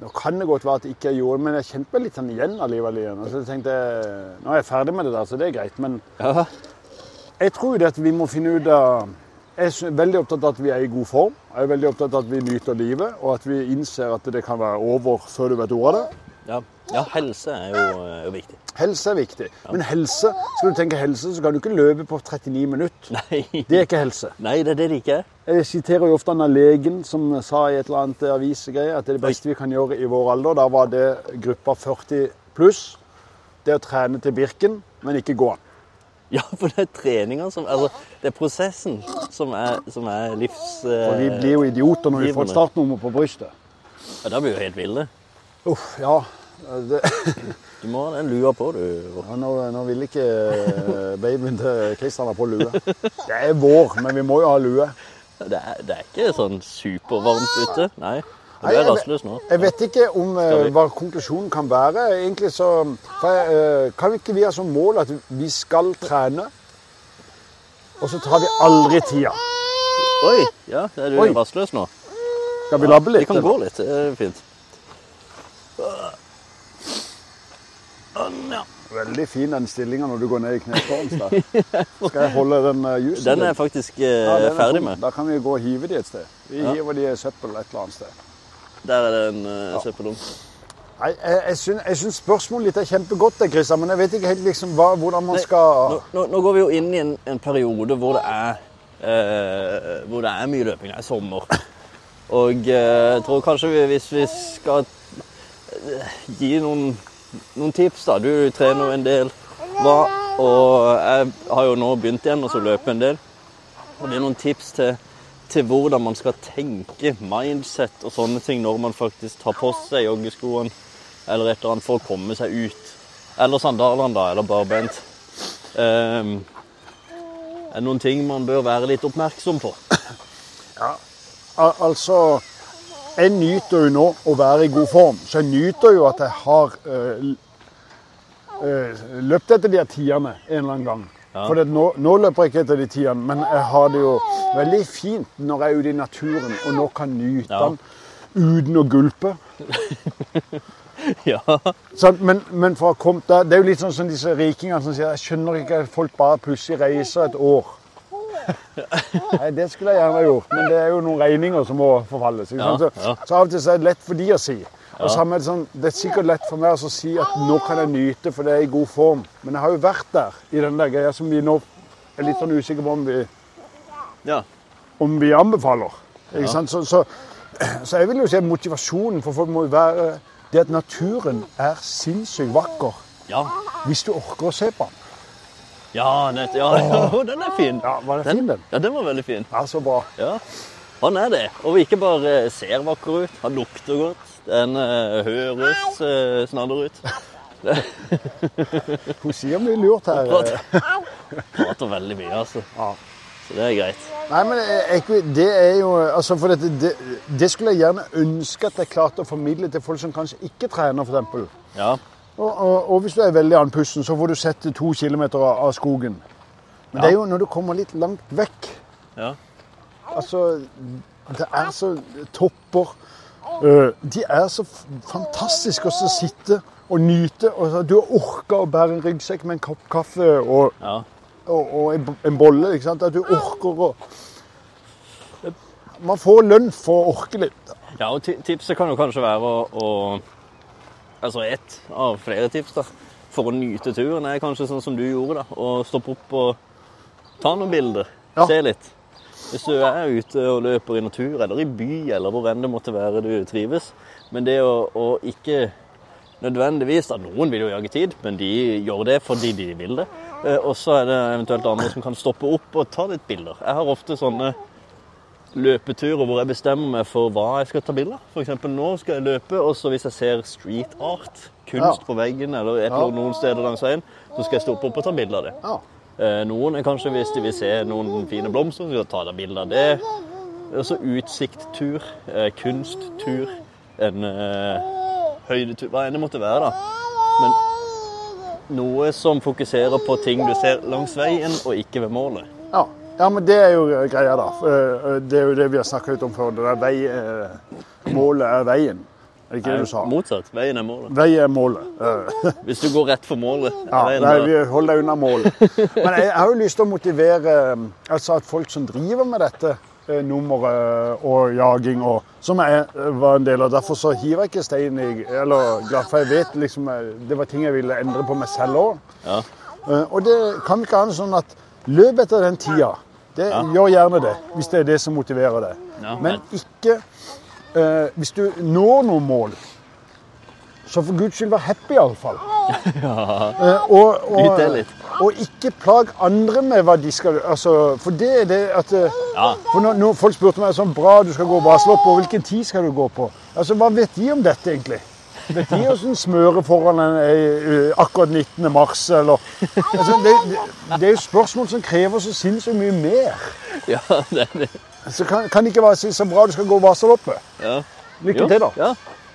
Speaker 2: Nå kan det godt være at jeg ikke gjorde det, men jeg kjente meg litt sånn igjen allikevel igjen. Og så tenkte jeg, Nå er jeg ferdig med det der, så det er greit. Men
Speaker 3: ja.
Speaker 2: jeg tror jo det at vi må finne ut av Jeg er så- veldig opptatt av at vi er i god form. Jeg er veldig opptatt av at vi nyter livet, og at vi innser at det kan være over før du vet ordet av det.
Speaker 3: Ja, ja helse er jo, er jo viktig. *laughs*
Speaker 2: Helse er viktig. Men helse, skal du tenke helse, så kan du ikke løpe på 39 minutter.
Speaker 3: Nei,
Speaker 2: Det er ikke helse.
Speaker 3: Nei det er det de ikke er. *laughs*
Speaker 2: Jeg siterer jo ofte han legen som sa i et eller annet avisegreie at det, er det beste vi kan gjøre i vår alder, da var det gruppa 40 pluss, det å trene til Birken, men ikke gå den.
Speaker 3: Ja, for det er treninga som Altså, det er prosessen som er, som er livs... eh,
Speaker 2: For vi blir jo idioter når vi får et
Speaker 3: givende.
Speaker 2: startnummer på brystet.
Speaker 3: Ja, da blir vi jo helt ville.
Speaker 2: Uff, ja. Det, *laughs*
Speaker 3: Du må ha den lua på, du.
Speaker 2: ja nå, nå vil ikke eh, babyen til Kristian ha på lue. Det er vår, men vi må jo ha lue.
Speaker 3: Det er, det er ikke sånn supervarmt ute. Nei. Du
Speaker 2: Nei,
Speaker 3: er
Speaker 2: jeg vet-
Speaker 3: rastløs nå.
Speaker 2: Jeg vet ikke om eh,
Speaker 3: Skal vi-
Speaker 2: hva konklusjonen kan være. Egentlig så for, jeg, eh, Kan vi ikke vi ha som mål at vi skal trene, og så tar vi aldri tida?
Speaker 3: Oi! Ja, du er
Speaker 2: Oi.
Speaker 3: rastløs nå.
Speaker 2: Skal vi labbe
Speaker 3: Vi
Speaker 2: litt?
Speaker 3: kan
Speaker 2: eller?
Speaker 3: gå litt. Det er fint.
Speaker 2: Veldig fin den stillinga når du går ned i knestående der. Skal jeg holde den eh, jusen?
Speaker 3: Den
Speaker 2: din?
Speaker 3: er jeg faktisk eh,
Speaker 2: Ja, den er
Speaker 3: ferdig
Speaker 2: tom.
Speaker 3: med.
Speaker 2: Da kan vi gå og hive de et sted. Vi hiver de i søppel et eller annet sted.
Speaker 3: Der er det en uh, søppeldunk.
Speaker 2: Nei, jeg, jeg, syns, jeg syns spørsmålet ditt er kjempegodt, det, Christian, men jeg vet ikke helt liksom hva, hvordan man
Speaker 3: Nei,
Speaker 2: skal
Speaker 3: nå, nå, nå går vi jo inn i en, en periode hvor det er eh, Hvor det er mye løping. Det er sommer. Og eh, jeg tror kanskje vi, hvis vi skal eh, gi noen, noen tips, da Du trener jo en del. Hva, og jeg har jo nå begynt igjen å så løpe en del. Og det er noen tips til, til hvordan man skal tenke mindset og sånne ting når man faktisk tar på seg joggeskoene eller et eller annet for å komme seg ut. Eller sandalene, da, eller barbent. Ehm, er det noen ting man bør være litt oppmerksom på?
Speaker 2: Al altså, jeg nyter jo nå å være i god form, så jeg nyter jo at jeg har eh, l- eh, løpt etter de her tierne en eller annen gang. For det, at nå, nå løper jeg ikke etter de tierne, men jeg har det jo veldig fint når jeg er ute i naturen og nå kan nyte
Speaker 3: Ja.
Speaker 2: den uten å gulpe.
Speaker 3: *laughs* ja.
Speaker 2: Sant? men, men for å komme der, det er jo litt sånn som disse rikingene som sier jeg skjønner ikke at folk bare plutselig reiser et år.
Speaker 3: *laughs*
Speaker 2: Nei, Det skulle jeg gjerne gjort, men det er jo noen regninger som må forfalles. Ikke
Speaker 3: Ja,
Speaker 2: sant? Så,
Speaker 3: ja.
Speaker 2: så av og til så er det lett for de å si. Og samme er det, sånn, det er sikkert lett for meg å si at nå kan jeg nyte, for det er i god form. Men jeg har jo vært der i den der greia som vi nå er litt sånn usikre på om vi,
Speaker 3: ja.
Speaker 2: om vi anbefaler. Ikke sant? Så, så, så jeg vil jo si at motivasjonen for folk må jo være det at naturen er sinnssykt vakker.
Speaker 3: Ja.
Speaker 2: Hvis du orker å se på den.
Speaker 3: Ja, nett, ja, *laughs* ja, den er fin.
Speaker 2: Ja, var det fin, den?
Speaker 3: Ja, den var veldig fin.
Speaker 2: Ja, så bra.
Speaker 3: Ja. Han er det. Og ikke bare ser vakker ut, han lukter godt. Den eh, høres eh, snadder *laughs* ut.
Speaker 2: Hun sier mye lurt her. eh.
Speaker 3: Prater veldig mye, altså.
Speaker 2: Ja.
Speaker 3: Så det er greit.
Speaker 2: Nei, men jeg, jeg, kunne- det er jo altså for dette, det, det skulle jeg gjerne ønske at jeg klarte å formidle til folk som kanskje ikke trener, f.eks.
Speaker 3: Ja.
Speaker 2: Og, og, og hvis du er veldig andpusten, så får du sett to kilometer av, av skogen. Men det er jo når du kommer litt langt vekk.
Speaker 3: ja.
Speaker 2: Altså, det er så topper. Øh, De er så f- fantastiske å så sitte og nyte. Og så- du har orka å bære en ryggsekk med en kopp kaffe og,
Speaker 3: ja.
Speaker 2: og, og en bo- en bolle. ikke sant? At du orker å Man får lønn for å orke litt.
Speaker 3: Ja, og ti- tipset kan jo kanskje være å, å Altså ett av flere tips, da. For å nyte turen er kanskje sånn som du gjorde, da. Å stoppe opp og ta noen bilder.
Speaker 2: Ja.
Speaker 3: Se litt. Hvis du er ute og løper i natur, eller i by, eller hvor enn det måtte være du trives. Men det å, å ikke nødvendigvis da, Noen vil jo jage tid, men de gjør det fordi de vil det. Eh, Og så er det eventuelt andre som kan stoppe opp og ta litt bilder. Jeg har ofte sånne løpeturer hvor jeg bestemmer meg for hva jeg skal ta bilder av. For eksempel nå skal jeg løpe, og så hvis jeg ser street art, kunst
Speaker 2: Ja.
Speaker 3: på veggen eller et eller annet noen steder langs veien, så skal jeg stoppe opp og ta bilder av det.
Speaker 2: Ja.
Speaker 3: Eh, Noen er kanskje hvis de vil se noen fine blomster, så skal jeg ta da bilder av det. Og så utsikttur, eh, kunsttur, en eh, høydetur, hva enn det måtte være da. Men noe som fokuserer på ting du ser langs veien, og ikke ved målet.
Speaker 2: Ja. ja, men det er jo greia, da. Eh, eh, Det er jo det vi har snakka litt om før. Det der vei, eh, målet er veien. Er det ikke det du sa?
Speaker 3: Motsatt, veien er målet.
Speaker 2: Vei er målet. Eh,
Speaker 3: Hvis du går rett for målet, er
Speaker 2: Ja,
Speaker 3: veien
Speaker 2: nei,
Speaker 3: målet.
Speaker 2: vi holder deg unna
Speaker 3: *laughs*
Speaker 2: målet. Men jeg, jeg har jo lyst til å motivere um, altså at folk som driver med dette eh, nummeret og jaging, og, som jeg eh, var en del av. Derfor så hiver jeg ikke stein i eller glatt, for jeg vet liksom eh, det var ting jeg ville endre på meg selv òg.
Speaker 3: Ja.
Speaker 2: Og det kan vi ikke ha det sånn at løp etter den tida. Det, Gjør gjerne det, hvis det er det som motiverer deg.
Speaker 3: Ja,
Speaker 2: Men ikke eh, Hvis du når noen mål, så for guds skyld vær happy, iallfall. Eh, og,
Speaker 3: Nyt det litt.
Speaker 2: og ikke plag andre med hva de skal altså, For det er det at eh,
Speaker 3: Ja.
Speaker 2: For når, når folk spurte meg sånn Bra, du skal gå baselopp, og hvilken tid skal du gå på? Altså, Hva vet de om dette, egentlig? Vet de åssen smøret foran en er, eh, akkurat 19. mars, eller altså, det, det, det er jo spørsmål som krever så sinnssykt mye mer.
Speaker 3: Ja, det er det.
Speaker 2: Så kan, kan det ikke være så- så bra du skal gå Vasaloppet.
Speaker 3: Ja.
Speaker 2: Lykke
Speaker 3: Jo,
Speaker 2: til, da.
Speaker 3: Ja.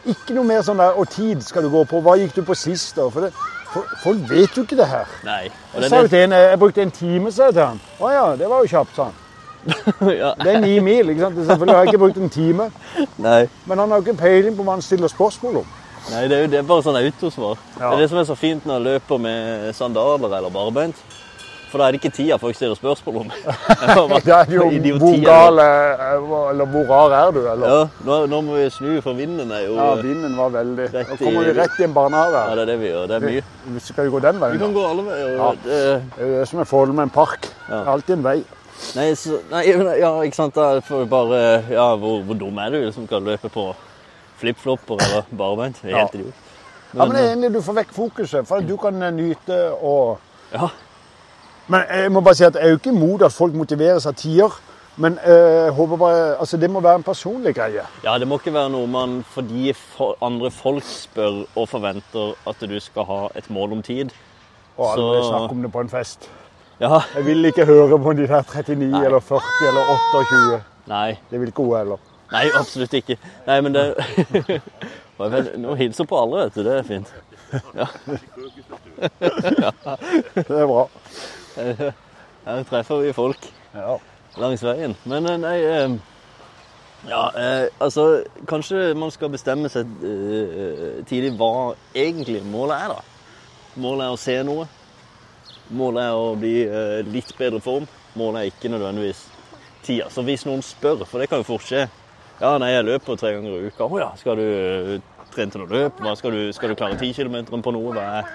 Speaker 2: Ikke noe mer sånn der Og tid skal du gå på. Hva gikk du på sist, da? For, det, for folk vet jo ikke det her.
Speaker 3: Nei. Og
Speaker 2: Jeg,
Speaker 3: den
Speaker 2: sa jo
Speaker 3: er,
Speaker 2: til en, jeg brukte en time, sa jeg til han. Å ja, det var jo kjapt, sa han.
Speaker 3: *laughs* ja.
Speaker 2: Det er ni mil, ikke sant. Selvfølgelig har jeg ikke brukt en time.
Speaker 3: Nei.
Speaker 2: Men han har jo ikke peiling på hva han stiller spørsmål om.
Speaker 3: Nei, det er jo det er bare sånn autosvar.
Speaker 2: Ja.
Speaker 3: Det er det som er så fint når jeg løper med sandaler eller barbeint. For da er det ikke tida folk stiller spørsmål
Speaker 2: *laughs*
Speaker 3: om.
Speaker 2: Da er
Speaker 3: *laughs*
Speaker 2: det jo
Speaker 3: Idioti,
Speaker 2: hvor
Speaker 3: eller-
Speaker 2: gal eh, hva- Eller hvor rar er du, eller?
Speaker 3: Ja, nå, nå må vi snu, for vinden er jo
Speaker 2: Ja, vinden var veldig
Speaker 3: Rett
Speaker 2: Nå kommer vi
Speaker 3: i-
Speaker 2: rett i en barnehage.
Speaker 3: Ja,
Speaker 2: her.
Speaker 3: det er det vi gjør. Det er mye. Eh,
Speaker 2: Skal vi gå den
Speaker 3: Vi
Speaker 2: veien? da?
Speaker 3: kan gå alle veier. og det-
Speaker 2: Det er jo det som er fordelen med en park. Det er alltid en vei.
Speaker 3: Nei, så, nei, men- ja, ikke sant. Da får vi bare Ja, hvor, hvor dum er du som kan løpe på flipflopper eller barbeint? Det er Helt
Speaker 2: Ja.
Speaker 3: idiot.
Speaker 2: Ja, men det er egentlig du får vekk fokuset, for at du kan eh, nyte og
Speaker 3: Ja.
Speaker 2: Men jeg må bare si at jeg er jo ikke imot at folk motiveres av tider. Men eh, jeg håper bare Altså, det må være en personlig greie.
Speaker 3: Ja, det må ikke være noe man fordi fo- andre folk spør og forventer at du skal ha et mål om tid.
Speaker 2: Og aldri
Speaker 3: Så-
Speaker 2: snakke om det på en fest.
Speaker 3: Ja,
Speaker 2: Jeg vil ikke høre på de der 39
Speaker 3: Nei.
Speaker 2: eller 40 eller 28.
Speaker 3: nei,
Speaker 2: Det vil ikke hun heller.
Speaker 3: nei, absolutt ikke. Nei, men det *laughs* Hva er det- Nå hilser på alle, vet du. Det er fint.
Speaker 2: Det er bra.
Speaker 3: Her treffer vi folk
Speaker 2: Ja.
Speaker 3: langs veien. Men eh, nei eh, Ja, eh, altså Kanskje man skal bestemme seg eh, tidlig hva egentlig målet er, da. Målet er å se noe. Målet er å bli eh, litt bedre form. Målet er ikke nødvendigvis tida. Så hvis noen spør, for det kan jo fort skje Ja, nei, jeg løper tre ganger i uka. Å ja, skal du eh, trene til å løpe? Hva skal, du, skal du klare 10 kilometeren på noe? Hva er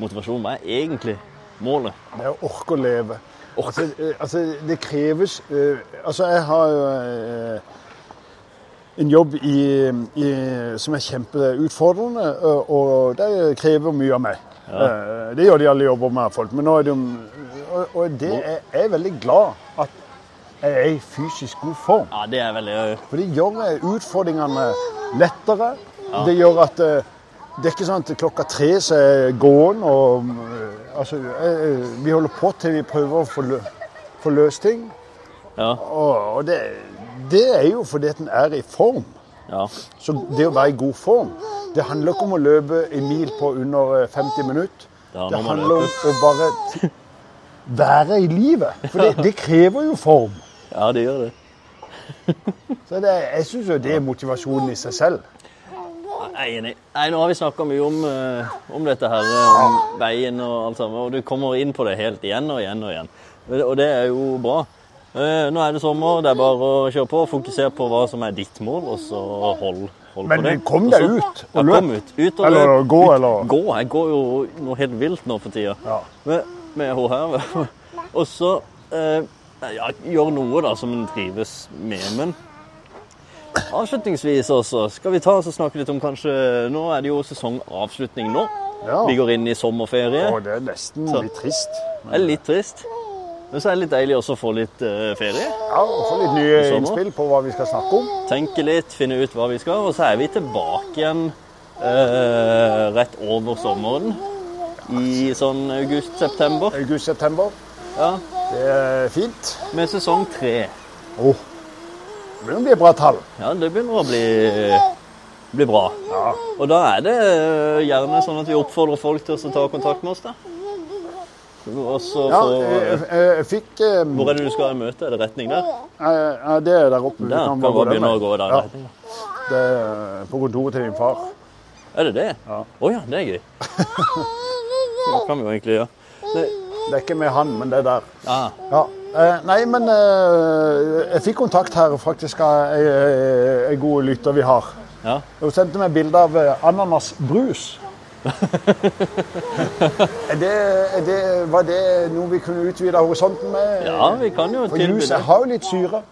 Speaker 3: motivasjonen? Hva er egentlig målet?
Speaker 2: Det er å orke å leve. Altså, eh, altså, det kreves eh, Altså, jeg har jo eh, en jobb i, i, som er kjempeutfordrende, eh, og det krever mye av meg. Eh, Det gjør de alle jobber med folk, men nå er det jo Og, og det er, jeg er veldig glad at jeg er i fysisk god form.
Speaker 3: Ja, det er veldig
Speaker 2: For det gjør eh, utfordringene lettere. Det gjør at eh, det er ikke sånn at klokka tre så eh, er gåen og eh, Altså, eh, vi holder på til vi prøver å få, lø få løst ting.
Speaker 3: Ja.
Speaker 2: Og, og det, det er jo fordi at en er i form.
Speaker 3: Ja.
Speaker 2: Så det å være i god form Det handler ikke om å løpe en mil på under eh, 50 minutter.
Speaker 3: Ja,
Speaker 2: Det
Speaker 3: nå må
Speaker 2: handler
Speaker 3: det
Speaker 2: om å bare t- være i livet. For det, det krever jo form.
Speaker 3: ja, det gjør det.
Speaker 2: Så det, jeg syns jo det er motivasjonen i seg selv.
Speaker 3: Jeg er enig. Nei, nå har vi snakka mye om, eh, om dette her, eh, om veien og alt sammen, og du kommer inn på det helt igjen og igjen og igjen. Og det er jo bra. Eh, Nå er det sommer, det er bare å kjøre på. Fokusere på hva som er ditt mål, og så hold, hold
Speaker 2: Men
Speaker 3: på det.
Speaker 2: kom deg
Speaker 3: Og så-
Speaker 2: ut
Speaker 3: Ja,
Speaker 2: og
Speaker 3: kom
Speaker 2: løp.
Speaker 3: ut. ut og
Speaker 2: Eller
Speaker 3: løp.
Speaker 2: gå,
Speaker 3: Ut-
Speaker 2: eller-
Speaker 3: Gå. Jeg går jo noe helt vilt nå for tida.
Speaker 2: Ja.
Speaker 3: Med, med hun her. og så eh, ja, gjør noe da som en trives med. Men Avslutningsvis også, skal vi ta oss og snakke litt om kanskje Nå er det jo sesongavslutning nå.
Speaker 2: Ja.
Speaker 3: Vi går inn i sommerferie.
Speaker 2: Og det er nesten litt trist.
Speaker 3: Det er litt trist. Men så er det litt deilig også å få litt eh, ferie.
Speaker 2: Ja, og Få litt nye
Speaker 3: sommer.
Speaker 2: innspill på hva vi skal snakke om.
Speaker 3: Tenke litt, finne ut hva vi skal. Og så er vi tilbake igjen eh, rett over sommeren. I sånn august-september.
Speaker 2: August-september.
Speaker 3: Ja,
Speaker 2: Det er fint.
Speaker 3: med sesong tre.
Speaker 2: Åh, Det begynner å bli et bra tall.
Speaker 3: Ja, det begynner å bli, bli bra. Og da er det eh, gjerne sånn at vi oppfordrer folk til å ta kontakt med oss, da. Og så
Speaker 2: Ja,
Speaker 3: få
Speaker 2: jeg, jeg, jeg fikk eh,
Speaker 3: Hvor er det du skal ha møte? Er det retning der?
Speaker 2: eh, ja, Det er der oppe. Vi
Speaker 3: Der kan
Speaker 2: kan bare
Speaker 3: vi
Speaker 2: gå
Speaker 3: bare
Speaker 2: den
Speaker 3: begynne
Speaker 2: veien.
Speaker 3: å gå i den
Speaker 2: Ja.
Speaker 3: retningen.
Speaker 2: Det er på kontoret til din far.
Speaker 3: Er det det? Å
Speaker 2: Ja.
Speaker 3: ja. det er gøy.
Speaker 2: *laughs*
Speaker 3: Det kan vi jo egentlig gjøre. Det,
Speaker 2: Det er ikke med han, men det er der.
Speaker 3: ah,
Speaker 2: Ja. Eh, nei, men eh, jeg fikk kontakt her faktisk eh, av ei- ei- ei god lytter vi har.
Speaker 3: ja.
Speaker 2: Hun sendte meg bilde av eh,
Speaker 3: *laughs*
Speaker 2: ananasbrus. er det, er det, var det noe vi kunne utvide horisonten med?
Speaker 3: ja, vi kan jo
Speaker 2: For
Speaker 3: tilby
Speaker 2: juice
Speaker 3: det.
Speaker 2: har jo litt syre,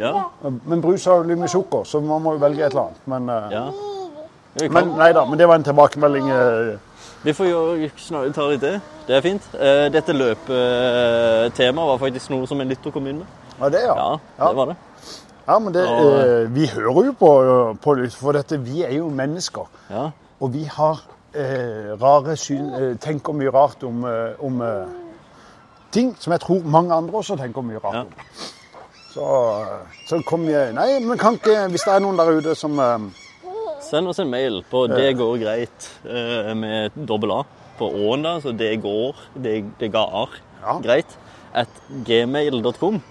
Speaker 3: Ja,
Speaker 2: men brus har jo litt mye sukker, så man må jo velge et eller annet. Men, eh,
Speaker 3: ja. Vi, kan.
Speaker 2: men nei da, men det var en tilbakemelding. eh,
Speaker 3: vi får jo snar- ta litt det. Det er fint. Eh, Dette løpetemaet var faktisk noe som en lytter kom inn med.
Speaker 2: Var det, ja?
Speaker 3: Ja, det var det.
Speaker 2: Ja, men det,
Speaker 3: Og-
Speaker 2: eh, vi hører jo på, eh, på lytt, for dette, vi er jo mennesker.
Speaker 3: Ja.
Speaker 2: Og vi har eh, rare syn, eh, tenker mye rart om, eh, om eh, ting som jeg tror mange andre også tenker mye rart
Speaker 3: Ja.
Speaker 2: om. Så, så kom jeg Nei, men kan ikke Hvis det er noen der ute som eh,
Speaker 3: Send oss en mail på det går greit eh, med dobbel A på åen da, så det går, det, det går
Speaker 2: Ja.
Speaker 3: greit, at gmail.com.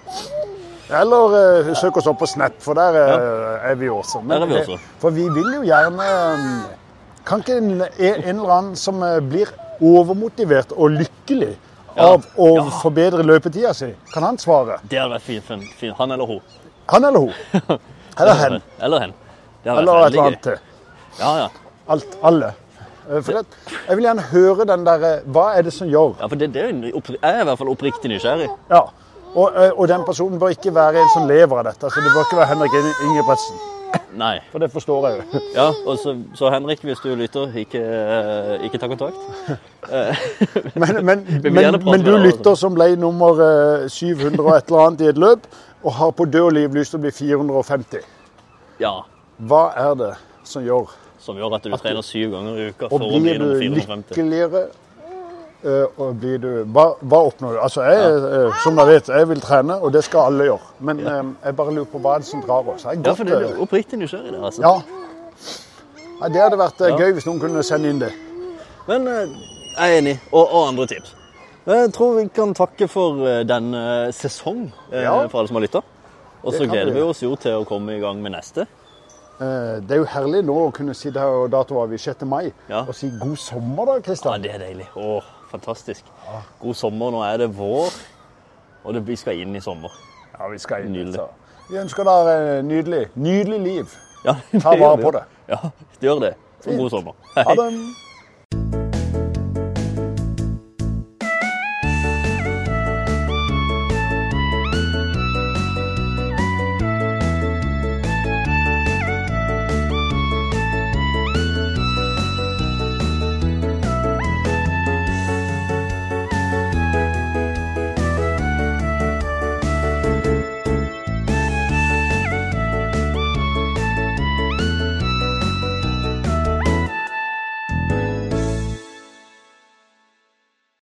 Speaker 2: Eller eh, søk oss opp på Snap, for der eh, er vi også. Men
Speaker 3: Der er vi
Speaker 2: det-
Speaker 3: også.
Speaker 2: for vi vil jo gjerne eh, Kan ikke en, en eller annen som eh, blir overmotivert og lykkelig
Speaker 3: Ja.
Speaker 2: av å forbedre løpetida si, kan han svare?
Speaker 3: Det hadde vært fint, fint, fint. Han eller hun.
Speaker 2: Han
Speaker 3: *laughs*
Speaker 2: eller hun? Eller hen?
Speaker 3: Eller hen. Det hadde
Speaker 2: Eller
Speaker 3: vært
Speaker 2: et eller
Speaker 3: veldig
Speaker 2: annet
Speaker 3: gøy.
Speaker 2: til.
Speaker 3: Ja, ja.
Speaker 2: Alt. Alle. Eh, For det, jeg vil gjerne høre den derre Hva er det som gjør
Speaker 3: ja, for det, det er, jo en oppri- jeg er i hvert fall oppriktig nysgjerrig.
Speaker 2: Ja. Og, eh, og den personen bør ikke være en som lever av dette. Så det bør ikke være Henrik Inge- Ingebretsen.
Speaker 3: Nei.
Speaker 2: For det forstår
Speaker 3: *laughs*
Speaker 2: jeg jo.
Speaker 3: Ja, og så, så Henrik, hvis du lytter, ikke, eh, ikke ta kontakt.
Speaker 2: Men, men,
Speaker 3: vil
Speaker 2: men,
Speaker 3: gjerne prate
Speaker 2: men
Speaker 3: med deg,
Speaker 2: du
Speaker 3: altså.
Speaker 2: lytter som ble nummer eh, 700 og et eller annet i et løp, og har på død og liv lyst til å bli 450.
Speaker 3: Ja,
Speaker 2: Hva er det som gjør
Speaker 3: som gjør at du trener syv ganger i uka
Speaker 2: Og
Speaker 3: for å bli
Speaker 2: blir du
Speaker 3: nummer 450.
Speaker 2: lykkeligere? eh, og blir du, hva, hva oppnår du? Altså, jeg, eh, som dere vet, jeg vil trene, og det skal alle gjøre. Men eh, jeg bare lurer på hva er det som drar oss. Jeg er
Speaker 3: Ja,
Speaker 2: godt,
Speaker 3: for det
Speaker 2: eh,
Speaker 3: er oppriktig nysgjerrig der, altså.
Speaker 2: ja. Ja, Det hadde vært eh, gøy hvis noen kunne sende inn det.
Speaker 3: Men eh, jeg er enig. Og, og andre tips. Jeg tror vi kan takke for eh, denne sesong eh,
Speaker 2: Ja.
Speaker 3: for alle som har lytta. Og
Speaker 2: Det
Speaker 3: så
Speaker 2: kan
Speaker 3: gleder
Speaker 2: vi.
Speaker 3: vi oss jo til å komme i gang med neste.
Speaker 2: Eh, det er jo herlig nå å kunne sitte her og datoavgi 6. mai
Speaker 3: Ja.
Speaker 2: og si god sommer, da,
Speaker 3: Ja,
Speaker 2: Kristian.
Speaker 3: det er deilig. Å, fantastisk. God sommer. Nå er det vår, og det, vi skal inn i sommer.
Speaker 2: Ja, vi skal inn.
Speaker 3: Nydelig.
Speaker 2: Så. Vi ønsker dere eh, nydelig, nydelig liv.
Speaker 3: Ja, *laughs*
Speaker 2: Ta *laughs*
Speaker 3: gjør
Speaker 2: vare
Speaker 3: vi
Speaker 2: på
Speaker 3: jo. Ja, det gjør det. Så god sommer.
Speaker 2: Ha det.